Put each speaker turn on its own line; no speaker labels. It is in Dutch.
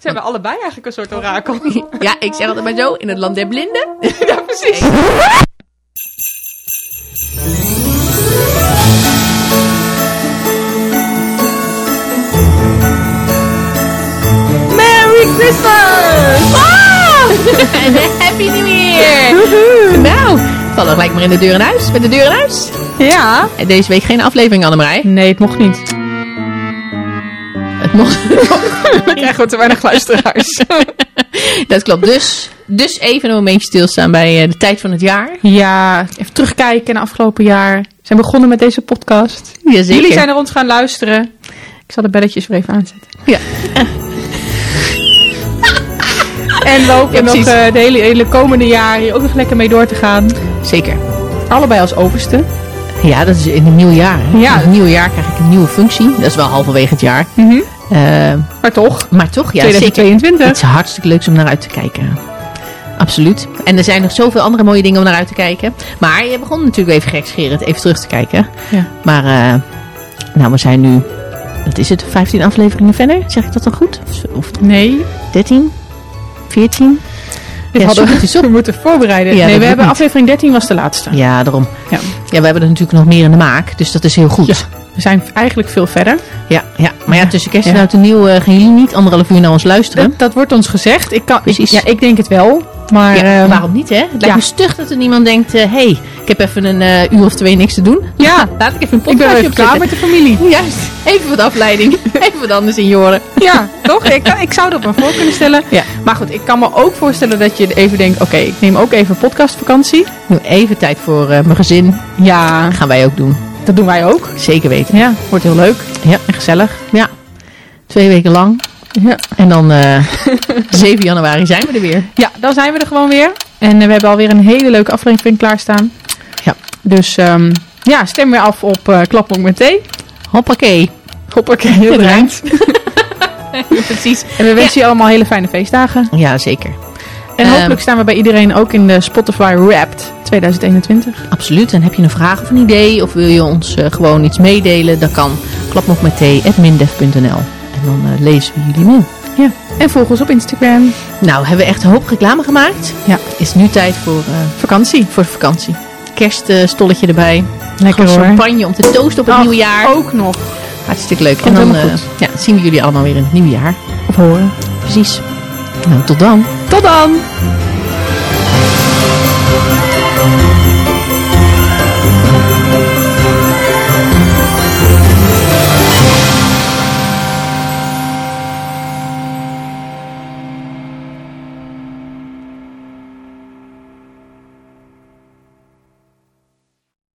Zijn we allebei eigenlijk een soort orakel?
Ja, ik zeg altijd maar zo, in het land der blinden.
ja, precies. Merry Christmas!
Ah! En happy new year! Nou, vallen we gelijk maar in de deur in huis, met de deur in huis.
Ja.
En deze week geen aflevering, Annemarij.
Nee, het mocht niet.
Het mocht.
We krijgen gewoon te weinig luisteraars.
Dat klopt. Dus, dus even een momentje stilstaan bij eh, de tijd van het jaar.
ja, even terugkijken naar afgelopen jaar. We zijn begonnen met deze podcast.
Jazeker.
Jullie zijn naar ons gaan luisteren. Ik zal de belletjes weer even aanzetten.
Ja.
En we hopen
Ja,
nog
precies.
eh, de hele, hele komende jaar hier ook nog lekker mee door te gaan.
Zeker.
Allebei als overste.
Ja, dat is in het nieuwe jaar. hè.
Ja.
In het nieuwe jaar krijg ik een nieuwe functie. Dat is wel halverwege het jaar. Eh,
Mhm. Maar toch,
maar toch, ja, zeker.
2022.
Het is hartstikke leuk om naar uit te kijken. Absoluut. En er zijn nog zoveel andere mooie dingen om naar uit te kijken. Maar je begon natuurlijk even gekscherend even terug te kijken.
Ja.
Maar, eh, nou, we zijn nu, wat is het, 15 afleveringen verder? Zeg ik dat dan goed? Of, of
Nee,
13? 14?
dit
Ja,
hadden
zoek
we dus op. moeten voorbereiden.
Ja, dat
nee, we
doet
hebben
niet.
aflevering 13 was de laatste.
Ja, daarom.
Ja.
Ja, we hebben er natuurlijk nog meer in de maak, dus dat is heel goed.
Ja. We zijn eigenlijk veel verder.
Ja, ja. maar ja, tussen kerst en
Ja.
oud en nieuw eh, gaan jullie niet anderhalf uur naar ons luisteren.
Dat, dat wordt ons gezegd. Ik kan, ik,
Precies.
ja, ik denk het wel. Maar
ja,
ehm,
waarom niet, hè? Het lijkt
ja.
me stug dat er niemand denkt, hé, hey, ik heb even een eh, uur of twee niks te doen.
ja,
Laat ik even een
ik ben wel
podcastje
even klaar met de familie.
met... Juist, even wat afleiding, even wat anders in je oren.
Ja, toch? Ik, kan- ik zou dat me voor kunnen stellen.
Ja.
Maar goed, ik kan me ook voorstellen dat je even denkt... Oké, ik neem ook even podcastvakantie.
Nu Even tijd voor eh, mijn gezin,
Ja,
dat gaan wij ook doen.
dat doen wij ook.
Zeker weten.
Ja, wordt heel leuk.
Ja.
En gezellig.
Ja, twee weken lang.
Ja.
En dan eh 7 januari zijn we er weer.
Ja, dan zijn we er gewoon weer. En eh, we hebben alweer een hele leuke aflevering klaarstaan.
Ja.
Dus ehm, ja, stem weer af op eh Klapmok met thee.
Hoppakee.
Hoppakee, heel
Het
rijmt.
Precies.
En we wensen je allemaal hele fijne feestdagen.
Ja, zeker.
En
Ehm.
hopelijk staan we bij iedereen ook in de Spotify Wrapped 2021.
Absoluut. En heb je een vraag of een idee of wil je ons eh, gewoon iets meedelen, dan kan klap nog met thee@mindef.nl. En dan eh, lezen we jullie mail.
Ja. En volg ons op Instagram.
Nou, hebben we echt een hoop reclame gemaakt.
Ja.
Is nu tijd voor, eh,
Vakantie.
voor de vakantie. Kerststolletje erbij.
Lekker
Gewoon
hoor.
champagne om te toosten op het Ah,
Ach,
nieuwe jaar.
Ook nog.
Hartstikke leuk.
Oh. Komt
en dan
helemaal
eh, ja, zien we jullie allemaal weer in het nieuwe jaar.
Of horen.
Precies. Nou, tot dan.
Tot dan!